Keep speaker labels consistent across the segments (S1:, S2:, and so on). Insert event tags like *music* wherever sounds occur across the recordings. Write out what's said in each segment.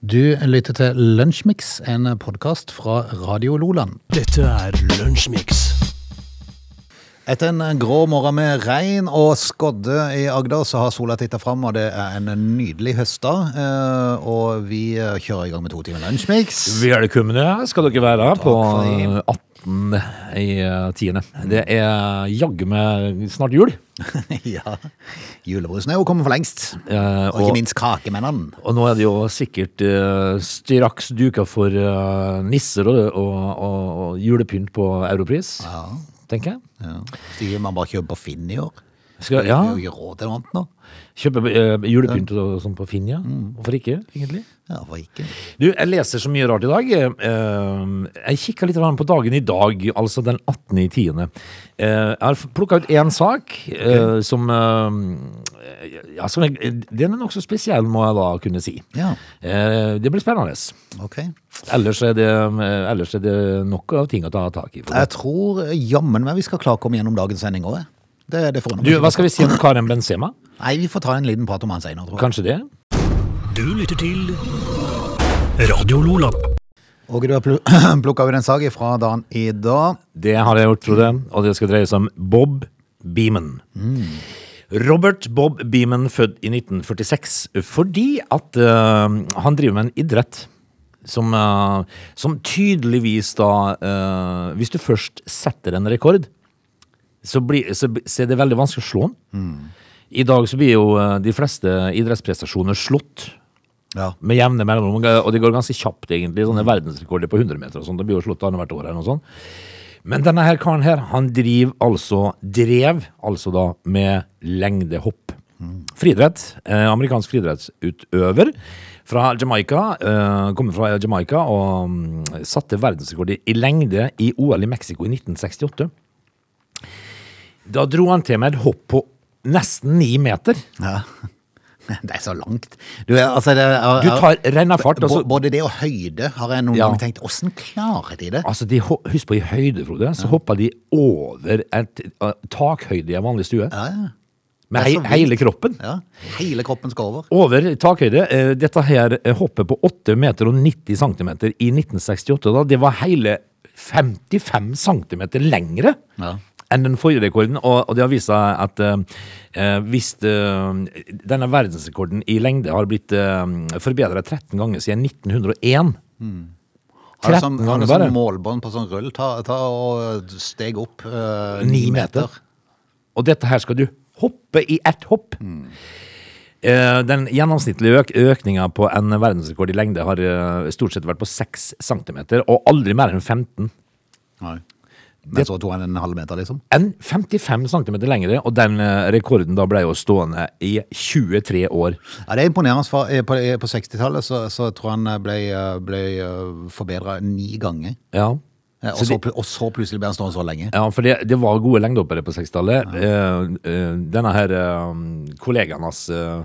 S1: Du lytter til Lunsjmix, en podkast fra Radio Loland.
S2: Dette er Lunsjmix.
S1: Etter en grå morgen med regn og skodde i Agder, så har sola titta fram, og det er en nydelig høstdag. Eh, Og vi eh, kjører i gang med to timer Lunsjmix. *laughs*
S3: Velkomne skal dere være på
S1: for
S3: 18 i eh, tiende. Det er jaggu meg snart jul.
S1: ja. Julebrusen er jo kommet for lengst.
S3: Eh,
S1: Og ikke
S3: og,
S1: minst kakemennene.
S3: og nå er det jo sikkert eh, straks duka for eh, nisser og, og, og, og julepynt på Europris,
S1: Ja.
S3: tenker jeg.
S1: ja. Det gir man bare kjøpe på Finn i år.
S3: Skal,
S1: Det
S3: ja,
S1: er jo ikke råd til noe annet nå.
S3: kjøpe eh, julepynt og sånn på Finn, ja.
S1: Mm.
S3: Hvorfor ikke, egentlig?
S1: Ja, hvorfor ikke?
S3: Du, jeg leser så mye rart i dag. Eh, eh, Jeg kikka litt grann på dagen i dag, altså den 18. i 10. Eh, Jeg har plukka ut én sak eh, som eh, ja, som jeg, Den er nokså spesiell, må jeg da kunne si.
S1: Ja.
S3: Eh, Det blir spennende.
S1: Ok.
S3: Ellers er det, eh, ellers er det nok av ting å ta tak i.
S1: Jeg tror eh, jammen meg vi skal klare å komme gjennom dagens sending òg. Det, det forundrer
S3: Du,
S1: meg ikke.
S3: Hva skal vi si om Karen Benzema?
S1: Nei, vi får ta en liten prat om han senere, tror jeg.
S3: Kanskje det?
S2: Du lytter til Radio Lola.
S1: Åge, du har *clears throat* plukka ut en sak fra dagen i dag.
S3: Det har jeg gjort, Frode, og det skal dreie seg om Bob Beeman. Robert Bob Beeman, født i 1946, fordi at eh, han driver med en idrett som, eh, som tydeligvis da eh, Hvis du først setter en rekord, så, blir, så, b- så er det veldig vanskelig å slå den. I dag så blir jo eh, de fleste idrettsprestasjoner slått
S1: Ja.
S3: med jevne mellomrom, og det går ganske kjapt egentlig, sånne verdensrekorder på 100 meter og sånn, det blir jo slått annethvert år eller noe sånt. Men denne her karen her, han driver altså, drev altså da med lengdehopp. Friidrett, eh, amerikansk friidrettsutøver fra Jamaica, eh, kommer fra Jamaica og mm, satte verdensrekord i- i lengde i OL i Mexico i 1968. Da dro han til med et hopp på nesten ni meter.
S1: ja. *laughs* Det er så langt. Du, altså, det er,
S3: Du tar rennafart, altså
S1: Bå- Både det og høyde har jeg noen
S3: Ja.
S1: ganger tenkt. Åssen klarer de det?
S3: Altså, de, ho- husk på i høyde, Frode, så hoppa de over et, eh, takhøyde i en vanlig stue.
S1: Ja, ja. det er
S3: med hei,
S1: så vilt.
S3: hele kroppen.
S1: ja. Hele kroppen skal over.
S3: Over takhøyde. eh, Dette her eh, hoppet på 8 meter og 90 cm i 1968, da, det var hele 55 cm lengre
S1: Ja.
S3: enn den forrige rekorden. Og, og det har vist seg at eh, eh, hvis eh, denne verdensrekorden i lengde har blitt eh, forbedra 13 ganger siden 1901
S1: Mm. Har du sånn, har
S3: 13
S1: du
S3: ganger
S1: sånn
S3: bare.
S1: målbånd på sånn rull? Ta, ta og steg opp eh,
S3: Ni meter. Og dette her skal du hoppe i ett hopp. Eh, Den gjennomsnittlige øk økninga på en verdensrekord i lengde har eh, stort sett vært på 6 cm, og aldri mer enn 15.
S1: Nei. Men
S3: Det-
S1: så tok han en halv meter, liksom.
S3: Enn 55 cm lengre, og den eh, rekorden da ble jo stående i 23 år.
S1: Ja, det er imponerende. For, eh, på eh, på 60-tallet så, så tror jeg han ble, eh, ble forbedra ni ganger.
S3: Ja.
S1: Eh, Og
S3: Så
S1: så,
S3: de-
S1: pl- og så plutselig ble han stående så *laughs* lenge.
S3: Ja, for det, det var gode lengdehoppere på 60-tallet. Eh, eh, denne her eh, kollegaen hans, eh,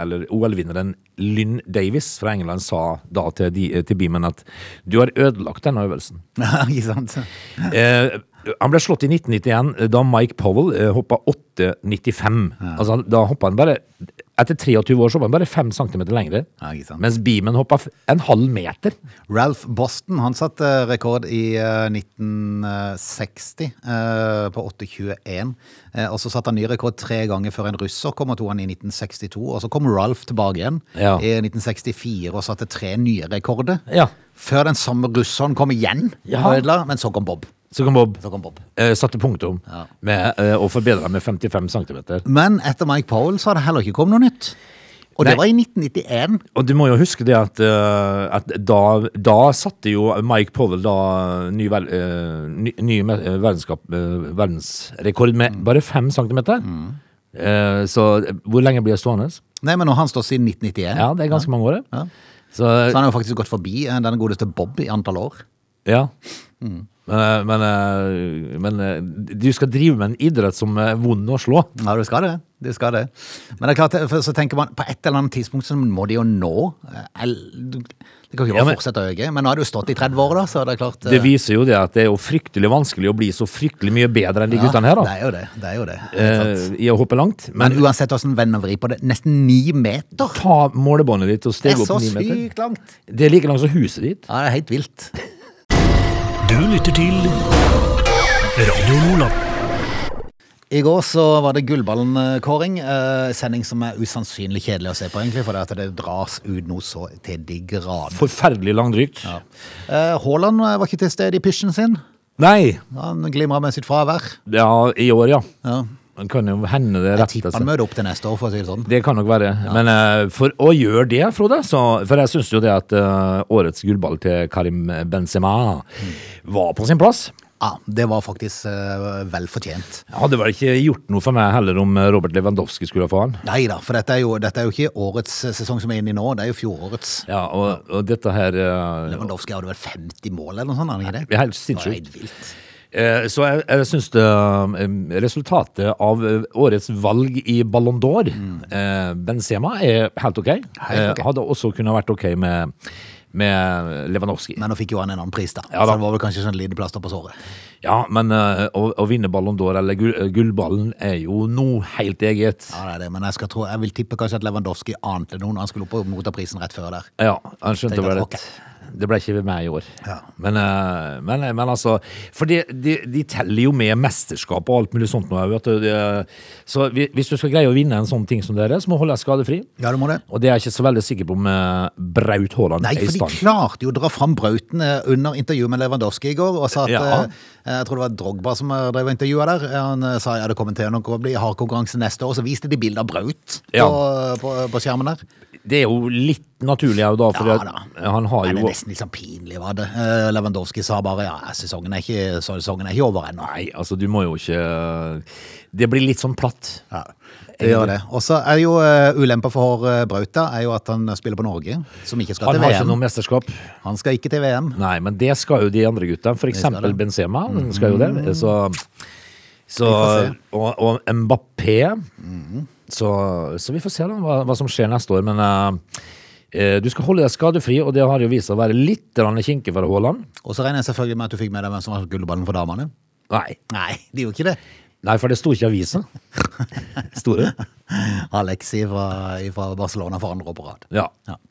S3: eller OL-vinneren Lynn Davis fra England, sa da til, de, eh, til Beaman at du har ødelagt denne øvelsen.
S1: ikke sant?
S3: Eh, han ble slått i 1991 da Mike Powell eh, hoppa 8,95. Altså, han- da hoppa han bare Etter 23 år så hoppa han bare 5 cm lengre,
S1: Ja, ikke sant.
S3: mens Beaman hoppa f- en halv meter.
S1: Ralph Boston han satte eh, rekord i eh, 1960 eh, på 8,21. Eh, Og så satte han ny rekord tre ganger før en russer kom og tok han i 1962. Og så kom Ralph tilbake igjen
S3: Ja.
S1: i 1964 og satte tre nye rekorder.
S3: Ja.
S1: Før den samme russeren kom igjen
S3: Ja.
S1: og ødela, men så kom Bob.
S3: Så kom Bob.
S1: Så kom Bob.
S3: Eh, satte punktum
S1: Ja.
S3: med eh, å forbedre med 55 cm.
S1: Men etter Mike Powell så har det heller ikke kommet noe nytt. Og det
S3: Nei.
S1: var i 1991.
S3: Og du må jo huske det at, eh, at da, da satte jo Mike Powell da ny, vel, eh, ny, ny me- eh, verdenskap, eh, verdensrekord med
S1: Mm.
S3: bare fem centimeter. Eh, så hvor lenge blir det stående?
S1: Nei, men nå har han stått siden 1991.
S3: Ja, det er ganske mange år. det.
S1: Ja.
S3: Så,
S1: eh, Så han har jo faktisk gått forbi eh, den godeste Bob i antall år.
S3: ja. Men, eh, men, eh, men eh, du skal drive med en idrett som er vond å slå.
S1: Ja, du skal det. Du skal det. Men det er klart, eh, for så tenker man, på et eller annet tidspunkt så må de jo nå eh, el- Det kan jo ikke bare
S3: Ja, men-
S1: fortsette å øke, men nå har du stått i 30 år, da, så det er klart eh,
S3: Det viser jo det at det er jo fryktelig vanskelig å bli så fryktelig mye bedre enn de guttene her,
S1: Det
S3: da.
S1: er jo det. det, er jo det.
S3: eh, I å hoppe langt.
S1: Men
S3: Men
S1: uansett hvordan venn og vri på det, nesten ni meter!
S3: ta målebåndet ditt og
S1: Det
S3: steg
S1: er så
S3: opp ni meter.
S1: sykt langt!
S3: Det er like langt som huset ditt.
S1: Ja, det er helt vilt.
S2: Du lytter til Radio Lola.
S1: I går så var det Gullballen-kåring. eh, Sending som er usannsynlig kjedelig å se på, egentlig, for det, at det dras ut noe så til de grader.
S3: Forferdelig langdrygt.
S1: Eh, Haaland eh, var ikke til stede i pysjen sin.
S3: Nei!
S1: Han glimra med sitt fravær.
S3: Ja, i år, ja. altså.
S1: Ja.
S3: Det kan jo hende det
S1: Jeg
S3: retter
S1: tipper
S3: seg.
S1: han møter opp til neste år, for å si det sånn.
S3: Det kan nok være. Men eh, for å gjøre det, Frode så, For jeg syns jo det at eh, årets gullball til Karim Benzema
S1: Mm.
S3: var på sin plass.
S1: Ja, Det var faktisk eh, vel fortjent.
S3: Jeg hadde vel ikke gjort noe for meg heller om eh, Robert Lewandowski skulle få han.
S1: Nei da, for dette er, jo, dette er jo ikke årets eh, sesong som er inne i nå, det er jo fjorårets.
S3: Ja, og, og dette her eh,
S1: Lewandowski hadde vel 50 mål eller noe sånt? hadde han ikke
S3: Det
S1: det?
S3: er
S1: Det var
S3: helt sinnssykt.
S1: helt vilt.
S3: Eh, Så jeg, jeg syns det eh, Resultatet av eh, årets valg i Ballon d'Or, eh, Benzema, er helt ok.
S1: Mm. Helt ok.
S3: Eh, Hadde også kunnet vært ok med, med Lewandowski.
S1: Men nå fikk jo han en annen pris, da.
S3: Ja da.
S1: Så det var vel kanskje sånn lite plaster på såret.
S3: Ja, men eh, å, å vinne Ballon d'Or, eller gull- eh, gullballen, er jo noe helt eget.
S1: Ja, det er det, men jeg, skal tro, jeg vil tippe kanskje at Lewandowski ante noe når han skulle opp og motta prisen rett før der.
S3: Ja, han skjønte
S1: Tenker
S3: vel
S1: at,
S3: at det ble ikke meg i år.
S1: Ja.
S3: Men, eh, men, men altså For de, de, de teller jo med mesterskap og alt mulig sånt nå. Vet du, det- eh, så vi- hvis du skal greie å vinne en sånn ting som dere, så må du holde deg skadefri.
S1: Ja, du må det.
S3: Og det er jeg ikke så veldig sikker på om eh, Braut Haaland
S1: Nei,
S3: er i
S1: for de
S3: stand.
S1: klarte jo å dra fram brauten eh, under intervjuet med Lewandowski i går, og sa at
S3: Ja.
S1: eh, Jeg tror det var Drogba som eh, drev og intervjua der. Han eh, sa ja, det kommer til å bli hard konkurranse neste år, så viste de bilde av braut på,
S3: Ja.
S1: på, på skjermen der.
S3: Det er jo litt naturlig òg, da. For
S1: Ja,
S3: han har
S1: Nei, det er
S3: jo
S1: nesten litt sånn pinlig, var det. Eh, Lewandowski sa bare ja, sesongen er ikke, sesongen er ikke over ennå.
S3: Nei, altså, du må jo ikke Det blir litt sånn platt.
S1: Ja, det gjør det. Og så er jo eh, ulempa for eh, Brauta er jo at han spiller på Norge, som ikke skal
S3: Han
S1: til
S3: har ikke
S1: VM.
S3: noe mesterskap.
S1: Han skal ikke til VM.
S3: Nei, men det skal jo de andre gutta. For eksempel
S1: det. Mm.
S3: Benzema. Den skal jo det. Så,
S1: Vi
S3: så,
S1: får se.
S3: og, og Mbappé. Så, så vi får se da hva, hva som skjer neste år. Men eh, eh, du skal holde deg skadefri, og det har jo vist seg å være litt grann kinkig for Haaland.
S1: Og så regner jeg selvfølgelig med at du fikk med deg hvem som var gullballen for damene.
S3: Nei.
S1: Nei, de gjorde ikke det.
S3: Nei, for det sto ikke i avisa. Sto det?
S1: Alexi fra, fra Barcelona for andre år på rad.
S3: Ja.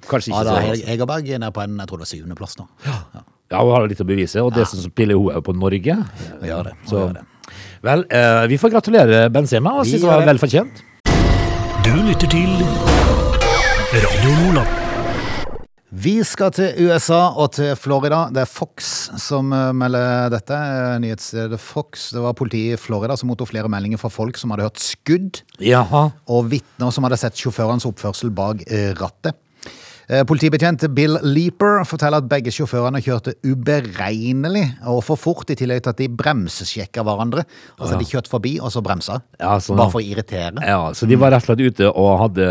S3: Kanskje ikke
S1: Ada
S3: så
S1: Heg- Hegerberg er nede på en, jeg tror det var syvende plass nå. Ja.
S3: Ja, hun har litt å bevise, og det som spiller hun er jo på Norge.
S1: Vi gjør det, vi
S3: Så,
S1: gjør det.
S3: vel, eh, vi får gratulere Benzema, og
S1: Vi
S3: synes det
S1: gjør
S3: var
S1: det.
S3: vel fortjent.
S2: Du lytter til Radio Lola.
S1: Vi skal til USA og til Florida. Det er Fox som eh, melder dette. eh, Nyhetsstedet Fox. Det var politiet i Florida som mottok flere meldinger fra folk som hadde hørt skudd,
S3: Jaha.
S1: og vitner som hadde sett sjåførens oppførsel bak eh, rattet. Eh, Politibetjent Bill Leaper forteller at begge sjåførene kjørte uberegnelig og for fort, i tillegg til at de bremsesjekka hverandre. Altså, de kjørte forbi, og så bremsa.
S3: Ja, sånn.
S1: Bare for å irritere.
S3: Ja, så de var rett og slett ute og hadde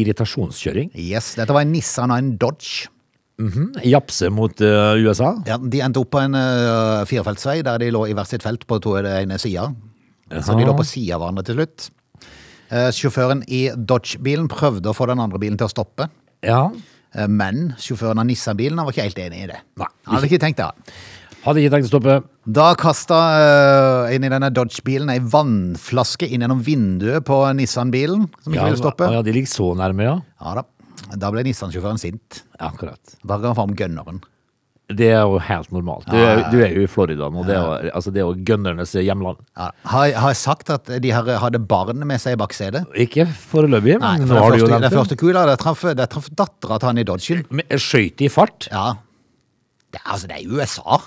S3: irritasjonskjøring.
S1: Yes, Dette var en Nissan og en Dodge.
S3: Japse mot eh, USA.
S1: Ja, De endte opp på en uh, firefeltsvei der de lå i hvert sitt felt på to det ene sida. Så de lå på sida av hverandre til slutt. Eh, sjåføren i Dodge-bilen prøvde å få den andre bilen til å stoppe.
S3: Ja.
S1: eh, men sjåføren av Nissan-bilen han var ikke helt enig i det.
S3: Nei.
S1: Han hadde ikke tenkt det. han.
S3: Hadde ikke tenkt å stoppe.
S1: Da kasta eh, en i denne Dodge-bilen ei vannflaske inn gjennom vinduet på Nissan-bilen, som ikke
S3: Ja,
S1: ville stoppe.
S3: Ja, de ligger så nærme, ja.
S1: Ja da. Da ble Nissan-sjåføren sint.
S3: Ja, Akkurat.
S1: Da ga han fram gunneren.
S3: Det er jo helt normalt. Du, er- du er jo i Florida nå. Det er jo, altså, det er jo gønnernes hjemland.
S1: Ja. Har, har jeg sagt at de her hadde barn med seg i baksetet?
S3: Ikke foreløpig,
S1: Nei,
S3: men
S1: for
S3: nå
S1: den
S3: har du jo
S1: første,
S3: nevnt
S1: den
S3: det.
S1: første kula, der traff, der traff dattera til han i Dodgen.
S3: Men Skøyt de i fart?
S1: Ja. Det, er- altså, det er USA.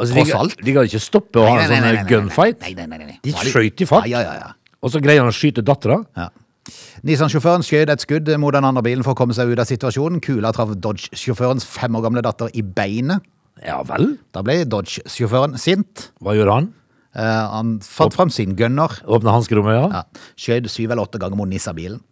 S3: Altså,
S1: Tross alt.
S3: de, de kan ikke stoppe å ha en sånn gunfight.
S1: Nei, nei, nei, nei.
S3: De
S1: Var det-
S3: skjøt i fart.
S1: Ja, ja, ja.
S3: Og så greier han å skyte dattera.
S1: ja. Nissan-sjåføren skjøt et skudd mot den andre bilen for å komme seg ut av situasjonen. Kula traff Dodge-sjåførens fem år gamle datter i beinet.
S3: Ja vel?
S1: Da ble Dodge-sjåføren sint.
S3: Hva gjør han?
S1: Eh, han fant fram sin gunner.
S3: Åpner hanskerommet, ja?
S1: Ja. Skjøt syv eller åtte ganger mot Nissa-bilen.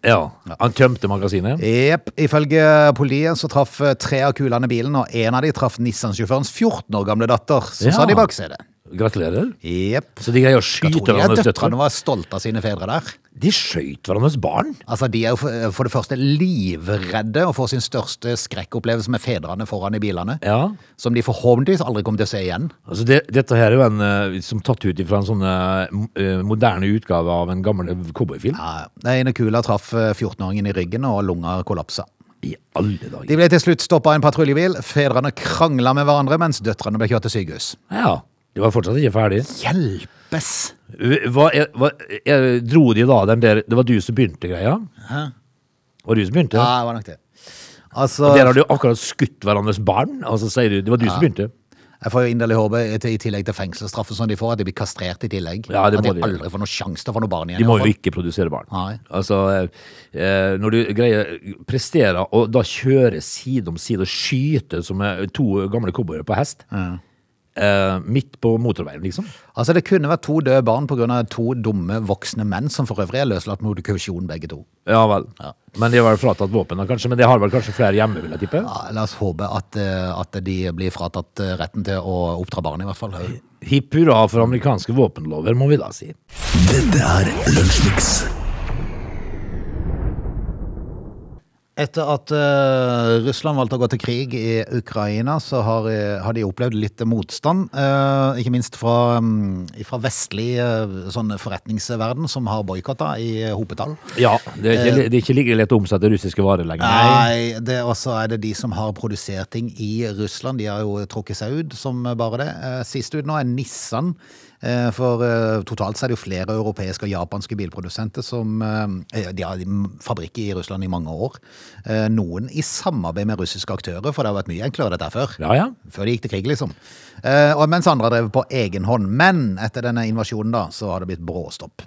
S3: Ja, Han tømte magasinet.
S1: Jepp. Ifølge politiet så traff eh, tre av kulene bilen, og en av de traff Nissan-sjåførens 14 år gamle datter, som
S3: Ja.
S1: satt i baksetet.
S3: Gratulerer.
S1: Jepp.
S3: Så de greier å
S1: Jeg
S3: skyte
S1: tror de at
S3: hverandres døtre.
S1: døtrene var stolte av sine fedre der.
S3: De skøyt hverandres barn.
S1: Altså, De er jo for- for det første livredde og får sin største skrekkopplevelse med fedrene foran i bilene.
S3: Ja.
S1: Som de forhåpentligvis aldri kommer til å se igjen.
S3: Altså det, dette her er jo en eh, som tatt ut fra en sånn eh, mo- eh, moderne utgave av en gammel cowboyfilm.
S1: Ja, Den ene kula traff eh, 14-åringen i ryggen, og lunga kollapsa.
S3: I alle dager.
S1: De ble til slutt stoppa av en patruljebil. Fedrene krangla med hverandre, mens døtrene ble kjørt til sykehus.
S3: Ja. De var fortsatt ikke ferdig.
S1: Hjelpes!
S3: Hva, er- hva, er- dro de da den der Det var du som begynte greia? Var du som begynte?
S1: Ja, det var nok det. Altså,
S3: Der har de jo akkurat skutt hverandres barn, og så sier du det var du som begynte.
S1: jeg får jo inderlig håpe, i- i tillegg til fengselsstraffen som de får, at de blir kastrert i tillegg.
S3: Ja, det
S1: at
S3: må
S1: de
S3: de gjøre.
S1: aldri får noen sjanse til å få noe barn igjen.
S3: De må jo
S1: i hvert
S3: ikke produsere barn.
S1: Nei.
S3: Altså, eh, eh, når du greier presterer, og da kjøre side om side og skyte som eh, to gamle cowboyer på hest, eh, midt på motorveien, liksom.
S1: fall. Altså, det kunne vært to døde barn pga. to dumme voksne menn, som for øvrig er løslatt mot kausjon, begge to.
S3: Ja vel. Men de har vel fratatt våpen, da, kanskje. Men det har vel kanskje flere hjemme, vil jeg tippe.
S1: Ja, la oss håpe at, eh, at de blir fratatt eh, retten til å oppdra barn, i hvert fall.
S3: Hipp hurra for amerikanske våpenlover, må vi da si.
S2: Dette er Lunsjmix.
S1: Etter at eh, Russland valgte å gå til krig i Ukraina, så har, eh, har de opplevd litt motstand. eh, ikke minst fra, mm, fra vestlig eh, sånn forretningsverden, som har boikotta i hopetall.
S3: Ja, det er ikke, det er ikke like lett å omsette russiske varer lenger.
S1: Nei, det, og så er det de som har produsert ting i Russland. De har jo trukket seg ut som bare det. Eh, Sist ut nå er Nissan. eh, For eh, totalt så er det jo flere europeiske og japanske bilprodusenter som eh, De har fabrikk i Russland i mange år. Eh, Noen i samarbeid med russiske aktører, for det har vært mye enklere dette her før.
S3: Ja, ja.
S1: Før de gikk til krig, liksom. Eh, Og mens andre har drevet på egen hånd. Men etter denne invasjonen, da, så har det blitt bråstopp.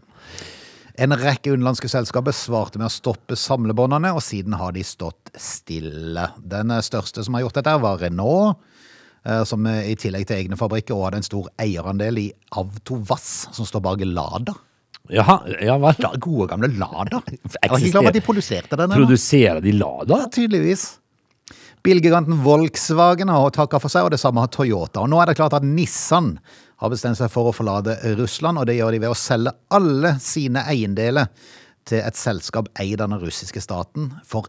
S1: En rekke utenlandske selskaper svarte med å stoppe samlebåndene, og siden har de stått stille. Den største som har gjort dette, var Renault, eh, som eh, i tillegg til egne fabrikker også hadde en stor eierandel i Avtovass, som står bak Lada.
S3: Jaha, ja vel.
S1: La, gode gamle Lada. Jeg var ikke klar over at de produserte den. eller?
S3: Produserer de Lada?
S1: Ja, tydeligvis. Bilgiganten Volkswagen har takka for seg, og det samme har Toyota. Og nå er det klart at Nissan har bestemt seg for å forlate Russland, og det gjør de ved å selge alle sine eiendeler til et selskap eid av den russiske staten for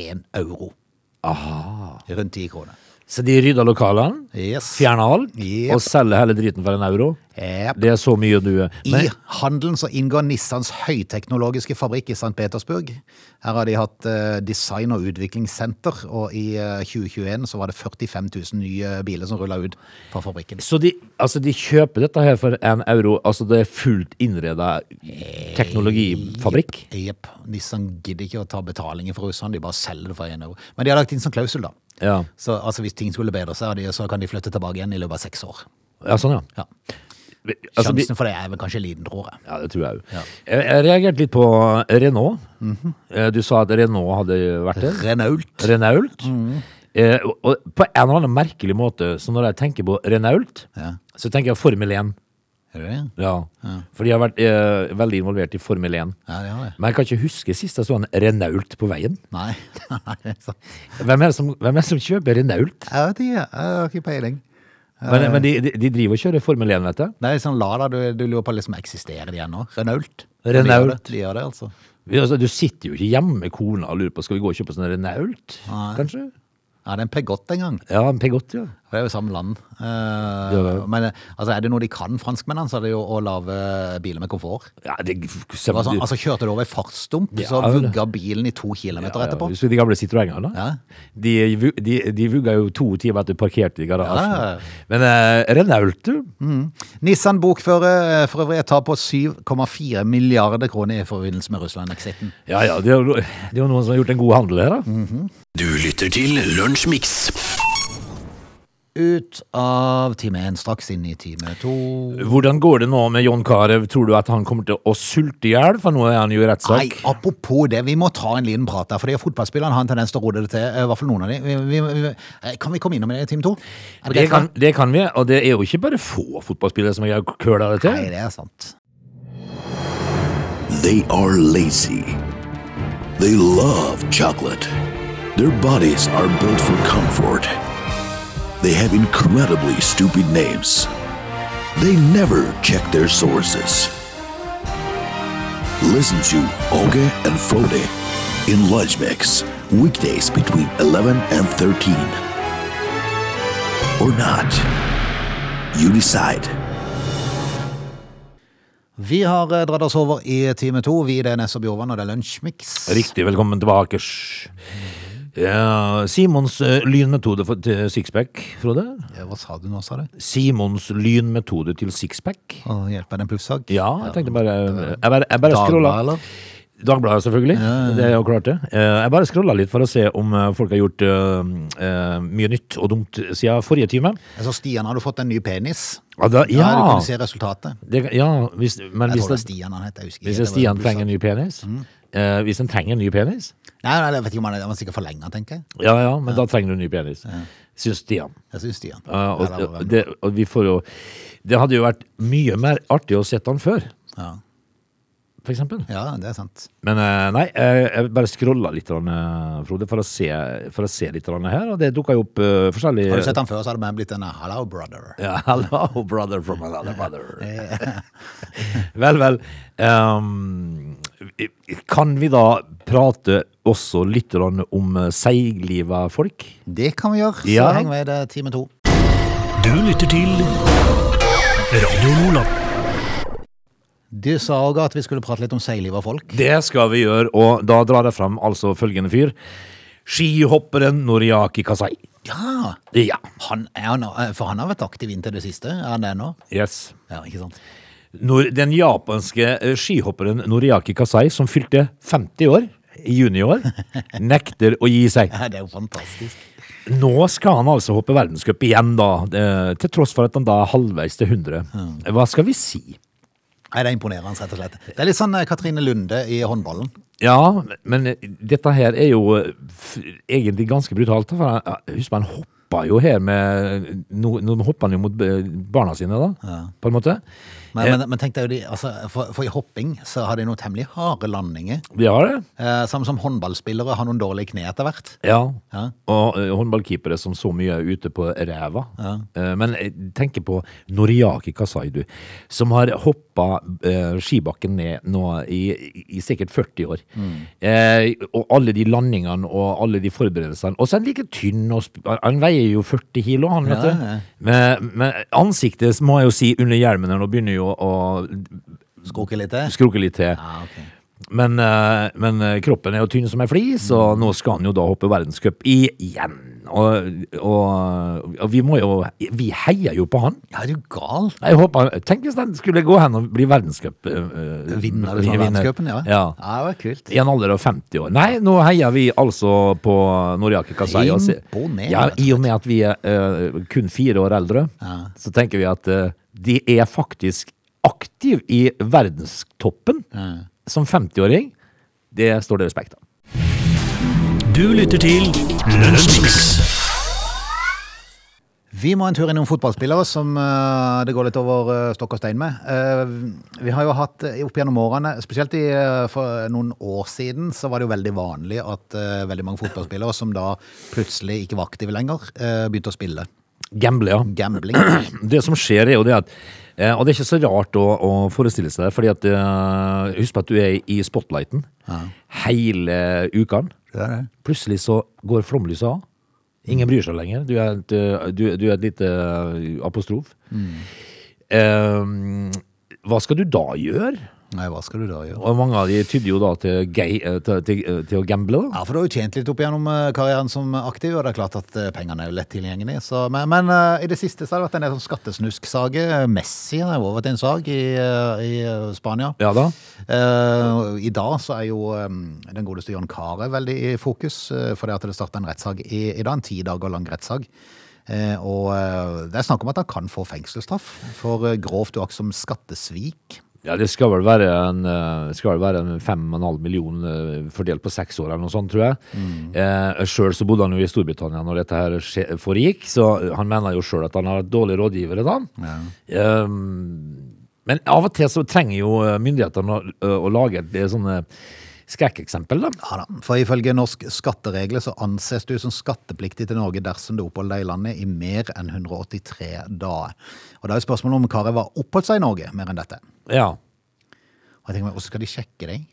S1: én euro. Rundt ti kroner.
S3: Så de rydder lokalene,
S1: Yes.
S3: fjerner alt,
S1: Jep.
S3: og selger hele driten for en euro?
S1: Jep.
S3: Det er så mye du
S1: I
S3: Men,
S1: handelen så inngår Nissans høyteknologiske fabrikk i St. Petersburg. Her har de hatt eh, design- og utviklingssenter, og i eh, 2021 så var det 45 000 nye biler som rulla ut fra fabrikken.
S3: så de, altså de kjøper dette her for en euro? Altså det er fullt innreda
S1: Eh,
S3: teknologifabrikk?
S1: Jepp. Nissan gidder ikke å ta betalingen for russerne, de bare selger det for én euro. Men de har lagt inn som klausul, da.
S3: Ja.
S1: Så altså, hvis ting skulle bedre seg, har de- så kan de flytte tilbake igjen i løpet av seks år.
S3: ja, sånn ja.
S1: Ja.
S3: Altså, de,
S1: Sjansen for det er vel kanskje liten, tror jeg.
S3: ja det tror jeg òg. Jeg, jeg reagerte litt på Renault.
S1: Mhm.
S3: Eh, Du sa at Renault hadde vært der.
S1: Renault.
S3: Renault.
S1: Mhm.
S3: Eh, og, og på en eller annen merkelig måte, så når jeg tenker på Renault,
S1: Ja.
S3: så tenker jeg Formel 1.
S1: Er det det?
S3: Ja. For de har vært eh, veldig involvert i Formel 1.
S1: Ja, de har det.
S3: Men jeg kan ikke huske sist jeg så en Renault på veien.
S1: Nei. *laughs* Nei, det er sant.
S3: Hvem er det som, hvem er det som kjøper Renault?
S1: Jeg vet ikke, jeg har ikke peiling. Eh.
S3: Men, men de, de, de driver og kjører Formel 1, vet du.
S1: Det er sånn Lada, du, du lurer på liksom, eksisterer de ennå? Renault? De gjør det,
S3: Renault.
S1: de gjør det altså.
S3: Vi- Altså, du sitter jo ikke hjemme med kona og lurer på skal vi gå og kjøpe sånn Renault, kanskje?
S1: Ja, det er en Pegott en gang.
S3: Ja, en Pegott, ja.
S1: Det er jo samme land. Eh,
S3: det er det.
S1: men eh, altså, er det noe de kan, franskmennene, så er det jo å lage biler med komfort.
S3: ja det,
S1: Det var sånn, altså, kjørte du over en fartsdump, så
S3: Ja, det-
S1: vugga bilen i to kilometer etterpå.
S3: Husker du de gamle Citroëngene?
S1: Ja.
S3: De, vu- de, de vugga jo to timer etter parkert i garasjen.
S1: Ja, ja, ja.
S3: Men eh, Renault, du.
S1: Nissan bokfører eh, for øvrig et tap på 7,4 milliarder kroner i forbindelse med Russland-exiten.
S3: Ja ja, det er, jo, det er jo noen som har gjort en god handel her,
S1: Mm.
S3: da.
S2: Du lytter til Lunsjmix.
S1: Ut av time én, straks inn i time to.
S3: Hvordan går det nå med John Carew? Tror du at han kommer til å sulte i hjel? For nå er han jo i
S1: Nei,
S3: rettssak.
S1: apropos det, vi må ta en liten prat der, fordi fotballspillerne har en tendens til å rode det til, eh, i hvert fall noen av de. Vi, vi, vi, eh, kan vi komme innom det i time to? Er
S3: Det
S1: greit,
S3: kan,
S1: da?
S3: det kan vi, og det er jo ikke bare få fotballspillere som har køla det til.
S1: Nei, det er sant.
S4: They are lazy.
S2: They love chocolate. Their bodies are built for comfort. They have incredibly stupid names. They never check their sources. Listen to Oge and Frode in Lunch Mix, weekdays between 11 and 13. Or not. You decide.
S1: Vi har eh, dratt oss over i time to. Vi det er Ness og Bjorvann, og det er Lunsjmix.
S3: Riktig, velkommen tilbake. Sj. Ja, Simons eh, lynmetode for- til sixpack, Frode.
S1: Eh, Hva sa du nå, sa du?
S3: Simons lynmetode til sixpack.
S1: Å, hjelp meg, det er en plussag.
S3: Ja, jeg tenkte bare eh, Jeg bare, jeg bare scrolla.
S1: Dagbladet, eller?
S3: Dagbladet, selvfølgelig. Det er jo klart, det. Eh, Jeg bare scrolla litt for å se om eh, folk har gjort eh, eh, mye nytt og dumt siden forrige time.
S1: Altså, Stian hadde fått en ny penis.
S3: Ja, da, ja,
S1: Ja, du kunne se resultatet.
S3: det, ja hvis, men
S1: Jeg
S3: hvis,
S1: tror det er
S3: det,
S1: Stian han heter. jeg husker ikke. Det Mm.
S3: hvis det
S1: var
S3: Stian
S1: en plussag.
S3: trenger en ny penis eh, Hvis en trenger en ny penis
S1: Nei, nei, jeg vet ikke om han er, han er sikkert forlenga, tenker jeg.
S3: Ja, ja, men da trenger du en ny penis, syns Stian.
S1: Jeg syns Stian.
S3: Ja, og,
S1: Eller, hva-
S3: det, og vi får jo Det hadde jo vært mye mer artig å sett han før,
S1: ja.
S3: for eksempel.
S1: ja, det er sant.
S3: Men eh, nei, eh, jeg bare scrolla litt, grann, eh, Frode, for å se, for å se litt grann her. Og det dukka jo opp eh, forskjellige
S1: Har du sett han før, så hadde det bare blitt en hello brother.
S3: Ja, *laughs* hello, brother from another
S1: *laughs*
S3: mother. *laughs* vel, vel. ehm, kan vi da prate også litt grann om eh, seigliva folk?
S1: Det kan vi gjøre. Så
S3: Ja.
S1: henger vi i det time to.
S2: Du lytter til Radio Lola.
S1: Du sa òg at vi skulle prate litt om seilliv av folk.
S3: Det skal vi gjøre, og da drar jeg fram altså følgende fyr. Skihopperen Noriaki Kasai.
S1: Ja!
S3: Ja.
S1: Han er, nå- eh, for han har vært aktiv inntil det siste. Er han det nå?
S3: Yes.
S1: Ja, ikke sant? *laughs*
S3: Nor den japanske eh, skihopperen Noriaki Kasai, som fylte 50 år i juni i år, nekter å gi seg.
S1: Ja, Det er jo fantastisk.
S3: Nå skal han altså hoppe verdenscup igjen, da. eh, Til tross for at han da er halvveis til 100. Hva skal vi si?
S1: Nei, Det er imponerende, rett og slett. Det er litt sånn eh, Katrine Lunde i håndballen.
S3: Ja, men eh, dette her er jo eh, f- egentlig ganske brutalt. da, For han- ja, husk, man hoppa jo her med Nå, nå hopper han jo mot eh, barna sine, da. På en måte.
S1: Men, men, men tenk deg jo de, altså, for, for i hopping så har de noen temmelig harde landinger.
S3: Vi har det.
S1: Eh, samme som håndballspillere har noen dårlige kne etter hvert.
S3: Ja.
S1: Ja.
S3: Og eh, håndballkeepere som så mye er ute på ræva. Eh, men jeg tenker på Noriaki Kasaidu, som har hoppa eh, skibakken ned nå i, i, i sikkert 40 år.
S1: Mm.
S3: Eh, og alle de landingene og alle de forberedelsene. Og så er han like tynn, og sp han veier jo 40 kilo, han, vet
S1: Ja,
S3: du.
S1: ja.
S3: Men, men ansiktet, må jeg jo si, under hjelmen her nå begynner jo å
S1: Skroker litt til.
S3: skrukke litt til.
S1: Ja, ok.
S3: Men, eh, men eh, kroppen er jo tynn som ei flis, og nå skal han jo da hoppe verdenscup igjen. Og, og, og vi må jo Vi heier jo på han.
S1: Ja, er du gal?
S3: Jeg håper, tenk hvis han skulle gå hen og bli verdenscupvinner.
S1: Vinner du verdenscupen, ja.
S3: ja.
S1: ja. Det var kult.
S3: I en alder av 50 år. Nei, nå heier vi altså på Noriaki Kasai. og se-
S1: Imponerende,
S3: Ja, I og med at vi er eh, kun fire år eldre, så tenker vi at eh, de er faktisk aktiv i verdenstoppen som 50-åring. Det står det respekt av.
S2: Du lytter til Lunsjmix.
S1: Vi må en tur innom fotballspillere som eh, det går litt over eh, stokk og stein med. Eh, vi har jo hatt eh, opp gjennom årene, spesielt i, eh, for noen år siden, så var det jo veldig vanlig at eh, veldig mange fotballspillere som da plutselig ikke var aktive lenger, eh, begynte å spille.
S3: Gamble, ja.
S1: Gambling.
S3: Det som skjer er jo det at eh, Og det er ikke så rart å, å forestille seg det, fordi at eh, Husk på at du er i spotlighten hele ukaen.
S1: Det er det.
S3: Plutselig så går flomlyset av. Ingen bryr seg lenger. Du er et, eh, du, du er et lite eh, apostrof. Eh, hva skal du da gjøre?
S1: Nei, hva skal du da gjøre?
S3: Og mange av de tydde jo da til, gay, eh, til, til, eh, til å gamble. da.
S1: Ja, for du har jo tjent litt opp gjennom eh, karrieren som aktiv, og det er klart at eh, pengene er jo lett tilgjengelig. Så, men men eh, i det siste så har det vært en del sånn skattesnusk-sage. Messi har jo vært en sag i, eh, i eh, Spania.
S3: Ja da.
S1: Eh, I dag så er jo eh, den godeste John Kare veldig i fokus, eh, fordi at det starta en rettssag i, i dag, en ti dager lang rettssag. Eh, og eh, det er snakk om at han kan få fengselsstraff for eh, grovt uaktsom skattesvik.
S3: Ja, det skal vel være en, eh, skal vel være en 5,5 million eh, fordelt på seks år eller noe sånt, tror jeg.
S1: Mm.
S3: Eh, selv så bodde han jo i Storbritannia når dette her skje- foregikk, så han mener jo selv at han har et dårlig rådgivere da. Eh, eh, men av og til så trenger jo eh, myndighetene å, å lage et, det sånne skrekkeksempel, da.
S1: Ja da, for ifølge norsk skatteregler så anses du som skattepliktig til Norge dersom du oppholder deg i landet i mer enn 183 dager. Og da er jo spørsmålet om Kari var oppholdt seg i Norge mer enn dette.
S3: Ja.
S1: Og jeg tenker meg, Hvordan skal de sjekke deg?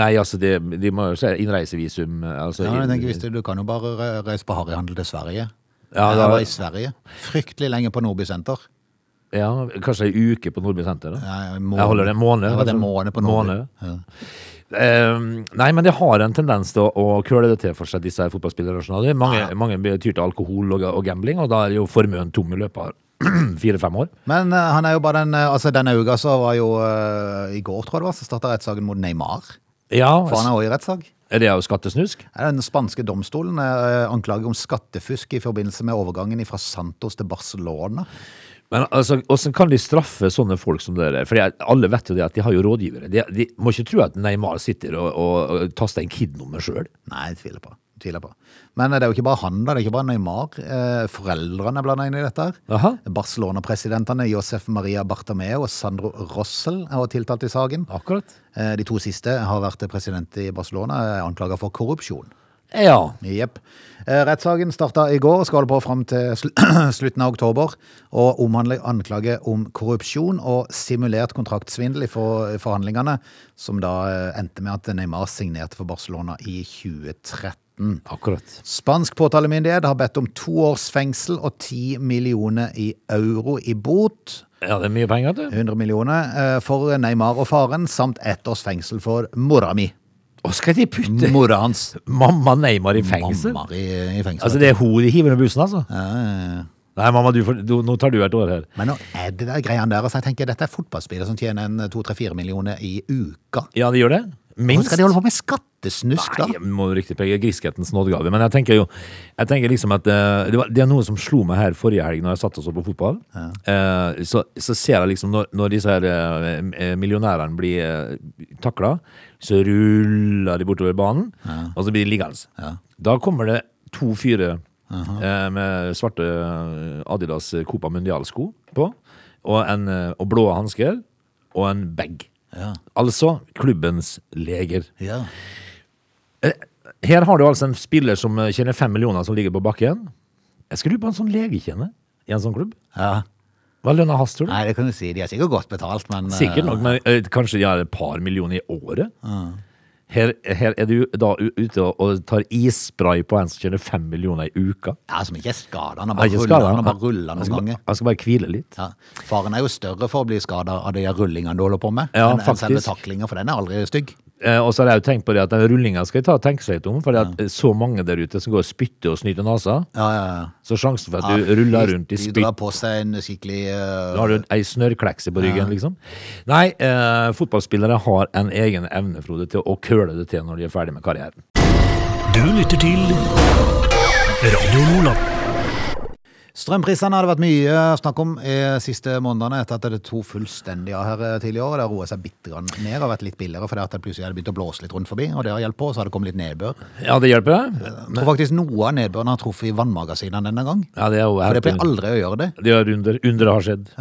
S3: Nei, altså, de, de må jo se innreisevisum altså,
S1: Ja, jeg
S3: inn-
S1: tenker, hvis du, du kan jo bare re- reise på harryhandel til Sverige.
S3: Ja,
S1: jeg
S3: da-
S1: var i Sverige. Fryktelig lenge på Nordby senter.
S3: ja, Kanskje ei uke på Nordby senter? da.
S1: Ja, en
S3: Jeg holder det en måned.
S1: Jeg var det en
S3: kanskje.
S1: måned på Nordby.
S3: Måned.
S1: Ja.
S3: Ehm, nei, men de har en tendens til å, å køle det til for seg, disse her fotballspillerne. skjønner du. Mange, mange blir- tyr til alkohol og, og gambling, og da er jo formuen tom i løpet av *clears throat* fire-fem år.
S1: Men eh, han er jo bare den eh, Altså, denne uka så var jo eh, I går, tror jeg det var, så starta rettssaken mot Neymar.
S3: Ja,
S1: For han er òg i rettssak.
S3: er det jo skattesnusk?
S1: Er Den spanske domstolen eh, anklager om skattefusk i forbindelse med overgangen fra Santos til Barcelona.
S3: Men altså, hvordan kan de straffe sånne folk som dere? For alle vet jo det at de har jo rådgivere. De, de må ikke tro at Neymar sitter og, og, og taster en KID-nummer sjøl.
S1: Nei, jeg tviler på. Tviler på. Men eh, det er jo ikke bare han, da. Det er ikke bare Neymar. Eh, Foreldrene er blanda inn i dette. her.
S3: Jaha.
S1: Barcelona-presidentene Josef Maria Bartomeu og Sandro Rossel er også tiltalt i saken.
S3: Akkurat.
S1: Eh, De to siste har vært president i Barcelona, er anklaga for korrupsjon.
S3: Ja.
S1: Jepp. Eh, Rettssaken starta i går og skal holde på fram til sl *clears throat* slutten av oktober. Og omhandler anklage om korrupsjon og simulert kontraktsvindel i for forhandlingene, som da eh, endte med at Neymar signerte for Barcelona i 2013.
S3: Akkurat.
S1: Spansk påtalemyndighet har bedt om to års fengsel og ti millioner i euro i bot.
S3: Ja, det er mye penger, du.
S1: 100 millioner eh, for Neymar og faren, samt ett års fengsel for mora mi.
S3: Og skal de putte
S1: Mora hans.
S3: mamma Neymar i *laughs* fengsel?
S1: Mamma i, i fengsel.
S3: Altså, det er hun de hiver under bussen, altså?
S1: Ja, ja, ja.
S3: Nei, mamma, du får, du, nå tar du et år her.
S1: Men nå er det der greiene der. Altså, jeg tenker, Dette er fotballspillere som tjener en eh, 2-3-4 millioner i uka.
S3: Ja, de gjør det?
S1: Hvordan
S3: Minst.
S1: skal de holde på med skattesnusk, da?
S3: Nei, jeg må jo riktig peke griskhetens nådegave. Men jeg tenker jo jeg tenker liksom at eh, det, var, det er noe som slo meg her forrige helg når jeg satt og så på fotball. Eh, så, så ser jeg liksom når, når disse her eh, eh, millionærene blir uh, takla, så ruller de bortover banen, og så blir de liggende. Da kommer det to fyrer eh, med svarte eh, Adidas Copa Mundial-sko på, og, en, eh, og blå hansker, og en bag.
S1: Ja.
S3: Altså klubbens leger.
S1: Ja.
S3: Her har du altså en spiller som eh, tjener fem millioner som ligger på bakken. Jeg skulle lure på en sånn lege kjenner i en sånn klubb.
S1: Ja.
S3: Hva lønner hans, tror du?
S1: Nei, det kan du si. De er sikkert godt betalt, men eh,
S3: Sikkert nok, men eh, kanskje de har et par millioner i året. Her, her er du da u- ute og- og tar isspray på en som tjener fem millioner i uka.
S1: ja, Som ikke er skada. Han har
S3: Han er
S1: bare
S3: ikke
S1: ruller-
S3: skadet. Altså,
S1: han har bare rulla noen
S3: skal, bare-
S1: ganger.
S3: han skal bare hvile litt.
S1: Ja. Faren er jo større for å bli skada av de rullingene du holder på med,
S3: Ja,
S1: enn enn selve
S3: faktisk.
S1: taklinga, for den er aldri stygg.
S3: Eh, og så har jeg jo tenkt på det at den rullinga skal jeg ta og tenke seg litt om, for det at eh, så mange der ute som går og spytter og snyter nesa,
S1: Ja, ja, ja.
S3: så sjansen for
S1: Ja,
S3: at du ruller rundt i
S1: de
S3: spytt
S1: drar på seg en skikkelig eh,
S3: Da har du ei snørrklekse på ryggen, liksom. Nei, eh, fotballspillere har en egen evne, Frode, til å køle det til når de er ferdig med karrieren.
S4: Du lytter til Radio Nordland.
S1: Strømprisene har det vært mye snakk om i siste månedene etter at det to fullstendig av her eh, tidligere. og Det har roet seg bitte grann ned og vært litt billigere fordi at det plutselig hadde begynt å blåse litt rundt forbi. Og det har hjulpet, og så har det kommet litt nedbør.
S3: Ja, det hjelper, det.
S1: Jeg tror faktisk noe av nedbøren har truffet i vannmagasinene denne gang.
S3: Ja, det er jo
S1: For det
S3: heftig.
S1: pleier aldri å gjøre det.
S3: Det er under, under har skjedd.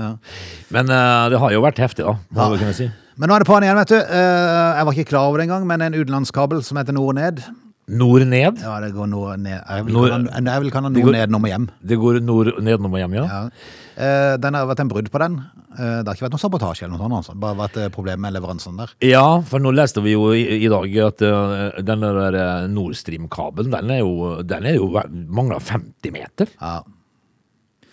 S3: Men eh, det har jo vært heftig, da, må vi kunne si.
S1: Men nå er det på'n igjen, vet du. Eh, Jeg var ikke klar over det engang, men en utenlandskabel som heter Nord Ned
S3: Nord ned.
S1: Ja, det går nord ned. Jeg vil
S3: Nord-
S1: kalle den- jeg vil kalle den
S3: Det
S1: Nord
S3: går-
S1: Ned når vi hjem.
S3: Det går nord nedenom og hjem, ja.
S1: Ja. Eh, Den har vært en brudd på den. Eh, Det har ikke vært noe sabotasje eller noe sånt. Altså. Bare vært eh, problemer med leveransen der.
S3: Ja, for nå leste vi jo i, i dag at eh, den der eh, Nord Stream-kabelen, den er jo, den er jo mangla 50 meter.
S1: Ja.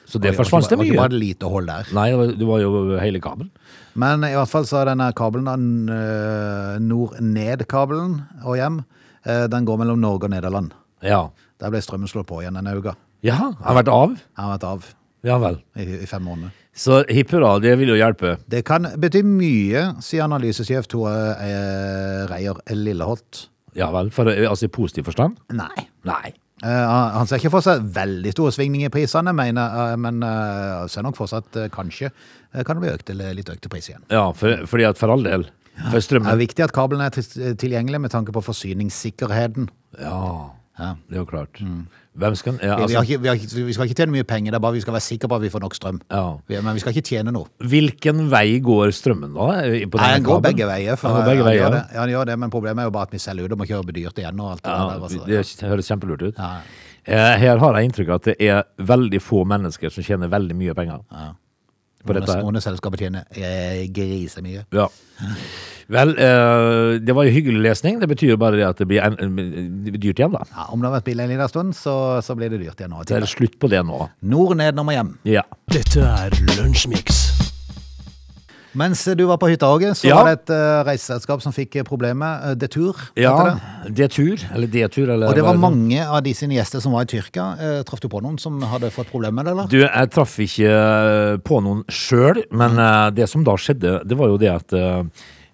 S3: Så det
S1: var ikke
S3: forsvant det
S1: bare- var ikke
S3: mye.
S1: bare et lite hold der.
S3: Nei, det var- det var jo hele kabelen.
S1: Men i hvert fall så er denne kabelen, da, n- øh, nord-ned-kabelen og hjem, eh, den går mellom Norge og Nederland.
S3: Ja.
S1: Der ble strømmen slått på igjen denne uka.
S3: Ja, har vært av.
S1: Jeg har vært av
S3: Ja vel.
S1: i, i fem måneder.
S3: Så hipp hurra, det vil jo hjelpe.
S1: Det kan bety mye, sier analysesjef Tore eh, Reier Lilleholt.
S3: Ja vel, for, altså i positiv forstand?
S1: Nei.
S3: Nei.
S1: Eh, han han ser ikke for seg veldig store svingninger i prisene, mener, eh, men eh, ser nok for seg at eh, kanskje eh, kan det bli økt eller litt økte priser igjen.
S3: Ja, for, fordi at for all del. For
S1: Det er
S3: strømmen
S1: viktig at kabelen er til- tilgjengelig med tanke på forsyningssikkerheten.
S3: Ja. Det er jo klart. Hvem skal ja,
S1: Mm. Vi, har
S3: altså,
S1: ikke, vi, har ikke, vi skal ikke tjene mye penger, det er bare vi skal være sikre på at vi får nok strøm.
S3: Ja.
S1: Vi- Men vi skal ikke tjene noe.
S3: Hvilken vei går strømmen, da? i- På
S1: Nei,
S3: denne
S1: den går
S3: kabelen?
S1: begge veier. For,
S3: Den går begge
S1: ja, den
S3: veier.
S1: gjør det. Ja, den gjør det, men problemet er jo bare at vi selger ut og må kjøpe dyrt igjen og alt det der.
S3: Ja,
S1: altså.
S3: det er- høres kjempelurt ut.
S1: Ja.
S3: Eh, Her har jeg inntrykk av at det er veldig få mennesker som tjener veldig mye penger på dette her.
S1: Noen av selskapet tjener eh, grisemye.
S3: Ja. Vel, eh, det var jo hyggelig lesning. Det betyr jo bare det at det blir en, en, dyrt igjen, da.
S1: Ja, om det har vært billig en liten stund, så, så blir det dyrt igjen. nå.
S3: Det er slutt på det nå.
S1: Nord ned, når man hjem.
S3: Ja.
S4: Dette er Lunsjmix.
S1: Mens du var på hytta, Åge, så
S3: Ja.
S1: var det et eh, reiseselskap som fikk eh, problemet. eh, Detour. heter
S3: ja
S1: det.
S3: D-tur, eller D-tur, eller
S1: Og det
S3: hva
S1: var
S3: er
S1: mange av de sine gjester som var i Tyrkia. Eh, Traff du på noen som hadde fått problemer med det, eller?
S3: Du, jeg traff ikke eh, på noen sjøl, men
S1: Mm.
S3: eh, det som da skjedde, det var jo det at eh,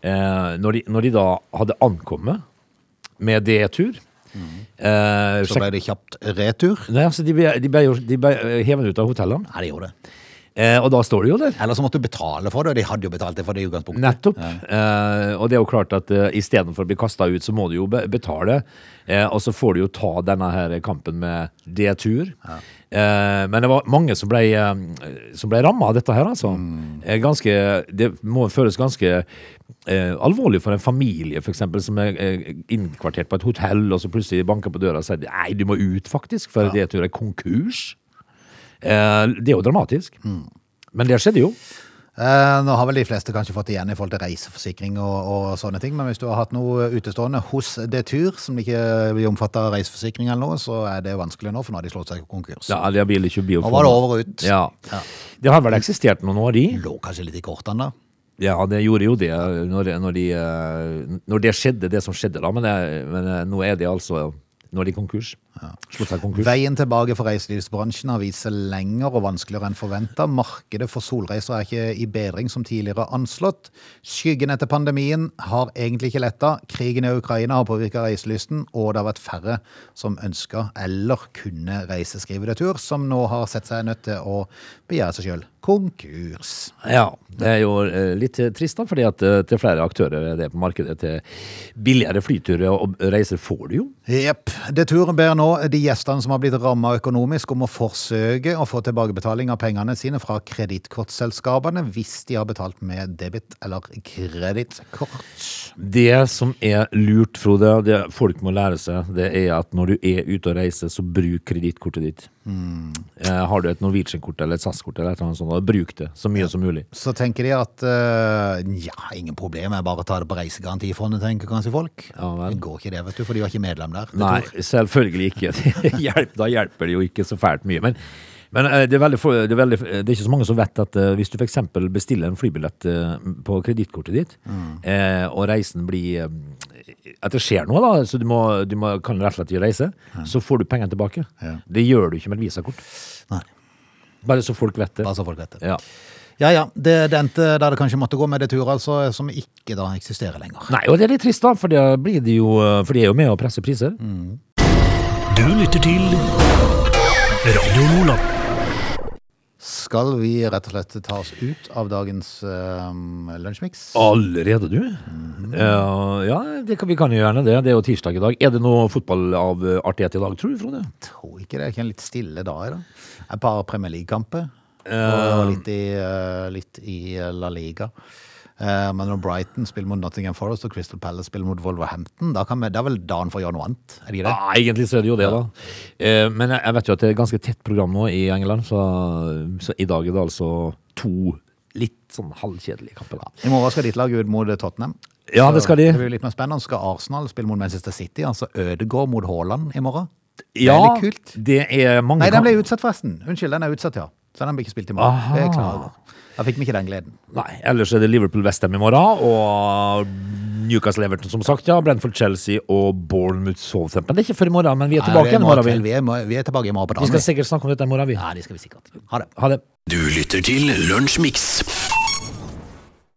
S3: eh, når, de, når de da hadde ankommet med D-tur eh,
S1: Mm. Så
S3: sjekk-
S1: ble det kjapt retur.
S3: Nei, altså, de ble, de ble, jo- de ble eh, hevet ut av hotellene,
S1: Nei, det gjorde det.
S3: eh, og da står de jo der.
S1: Eller så måtte du betale for det, og de hadde jo betalt det for det i utgangspunktet.
S3: Nettopp. Eh, og det er jo klart at eh, istedenfor å bli kasta ut, så må du jo be betale. Eh, og så får du jo ta denne her kampen med D-tur. Eh, men det var mange som ble, eh, som ble ramma av dette her, altså. Eh, ganske, det må føles ganske eh, alvorlig for en familie, f.eks., som er eh, innkvartert på et hotell, og så plutselig banker på døra og sier nei, du må ut, faktisk, for D-tur er konkurs. Eh, det er jo dramatisk. Men det skjedde jo.
S1: Eh, nå har vel de fleste kanskje fått igjen i forhold til reiseforsikring og, og sånne ting, men hvis du har hatt noe utestående hos Detur, som ikke blir omfattet av reiseforsikring eller noe, så er det vanskelig nå, for nå har de slått seg konkurs.
S3: Ja, det blir ikke biofon.
S1: Nå var det over og ut.
S3: Ja.
S1: Ja.
S3: Det har vel eksistert noen år, de?
S1: Lå kanskje litt i kortene da.
S3: Ja, det gjorde jo det når, når, de, eh, når det skjedde, det som skjedde da. Men, det, men eh, nå er de altså Nå er de konkurs. Slått seg konkurs.
S1: Veien tilbake for reiselivsbransjen har vist seg lenger og vanskeligere enn forventa. Markedet for solreiser er ikke i bedring som tidligere anslått. Skyggen etter pandemien har egentlig ikke letta. Krigen i Ukraina har påvirka reiselysten, og det har vært færre som ønska eller kunne reise skrivedetur, som nå har sett seg nødt til å begjære seg sjøl konkurs.
S3: Ja, det er jo eh, litt eh, trist, da, fordi at eh, til flere aktører er det på markedet. Til billigere flyturer og reiser får du jo.
S1: Jepp. Deturen ber nå de gjestene som har blitt ramma økonomisk, om å forsøke å få tilbakebetaling av pengene sine fra kredittkortselskapene hvis de har betalt med debit- eller kredittkort.
S3: Det som er lurt, Frode, det folk må lære seg, det er at når du er ute og reiser, så bruk kredittkortet ditt. Eh, har du et Norwegian-kort eller et SAS-kort, eller et eller annet sånt, da bruk det så mye som mulig.
S1: Så tenker de at eh, ja, ingen problem, jeg bare tar det på Reisegarantifondet, tenker kanskje folk.
S3: Ja vel.
S1: Det går ikke det, vet du, for de var ikke medlem der. Det
S3: Nei,
S1: tror-
S3: selvfølgelig ikke. *laughs* Det Hjelp, da hjelper det jo ikke så fælt mye. Men, men eh, det, er veldig, få- det, er veldig, det er ikke så mange som vet at eh, hvis du f.eks. bestiller en flybillett eh, på kredittkortet ditt,
S1: Mm.
S3: eh, og reisen blir eh, At det skjer noe, da, så du, må, du må, kan rett og slett ikke reise, så får du pengene tilbake.
S1: Ja.
S3: Det gjør du ikke med et visakort.
S1: Nei,
S3: Bare så folk vet det.
S1: bare så folk vet det.
S3: Ja.
S1: Ja ja, det, det endte der det kanskje måtte gå med Detur, altså, som ikke da eksisterer lenger.
S3: Nei, og det er litt trist, da, for, det blir de jo, eh, for de er jo med å presse priser.
S4: Du lytter til Radio Nordland.
S1: Skal vi rett og slett ta oss ut av dagens um, lunsjmiks?
S3: Allerede, du?
S1: Mhm.
S3: Eh, ja, det kan, vi kan jo gjerne det. Det er jo tirsdag i dag. Er det noe fotball av eh, artighet i dag, tror du, Frode?
S1: tror ikke det. Det er ikke en litt stille dag i dag. Et par Premier League-kamper. Og litt i, eh, litt i eh, La Liga. Eh, Men når Brighton spiller mot Nottingham Forest og Crystal Palace spiller mot Wolverhampton, da kan vi, det er vel dagen for å gjøre noe annet? Er det ikke det?
S3: Ja, egentlig så er det jo det, da. Eh, men jeg, jeg vet jo at det er et ganske tett program nå i England, så, så i dag er det altså to litt sånn halvkjedelige kamper. da.
S1: I morgen skal ditt lag ut mot eh, Tottenham.
S3: Ja, det skal de.
S1: Så Det blir litt mer spennende. Skal Arsenal spille mot Manchester City? Altså Ødegaard mot Haaland i morgen? det
S3: Ja,
S1: er litt kult.
S3: Det er mange
S1: Nei, den ble
S3: kamp-
S1: utsatt, forresten. Unnskyld, den er utsatt, ja. Så den blir ikke spilt i morgen.
S3: Aha.
S1: Det er jeg klar over. Da fikk vi ikke den gleden.
S3: Nei, ellers er det Liverpool-Westham i morgen, og Newcastle-Everton, som sagt, ja. Brentford-Chelsea og Bournemouth-Southampton. Det er ikke før i morgen, men vi er tilbake
S1: Nei, det
S3: igjen i
S1: må
S3: morgen.
S1: til.
S3: Vi,
S1: Vi er, må- vi er tilbake i morgen på
S3: vi
S1: dagen.
S3: skal sikkert snakke om dette i morgen, vi.
S1: Ja, det skal vi sikkert. Ha det.
S3: Ha det.
S4: Du lytter til Lunsjmix.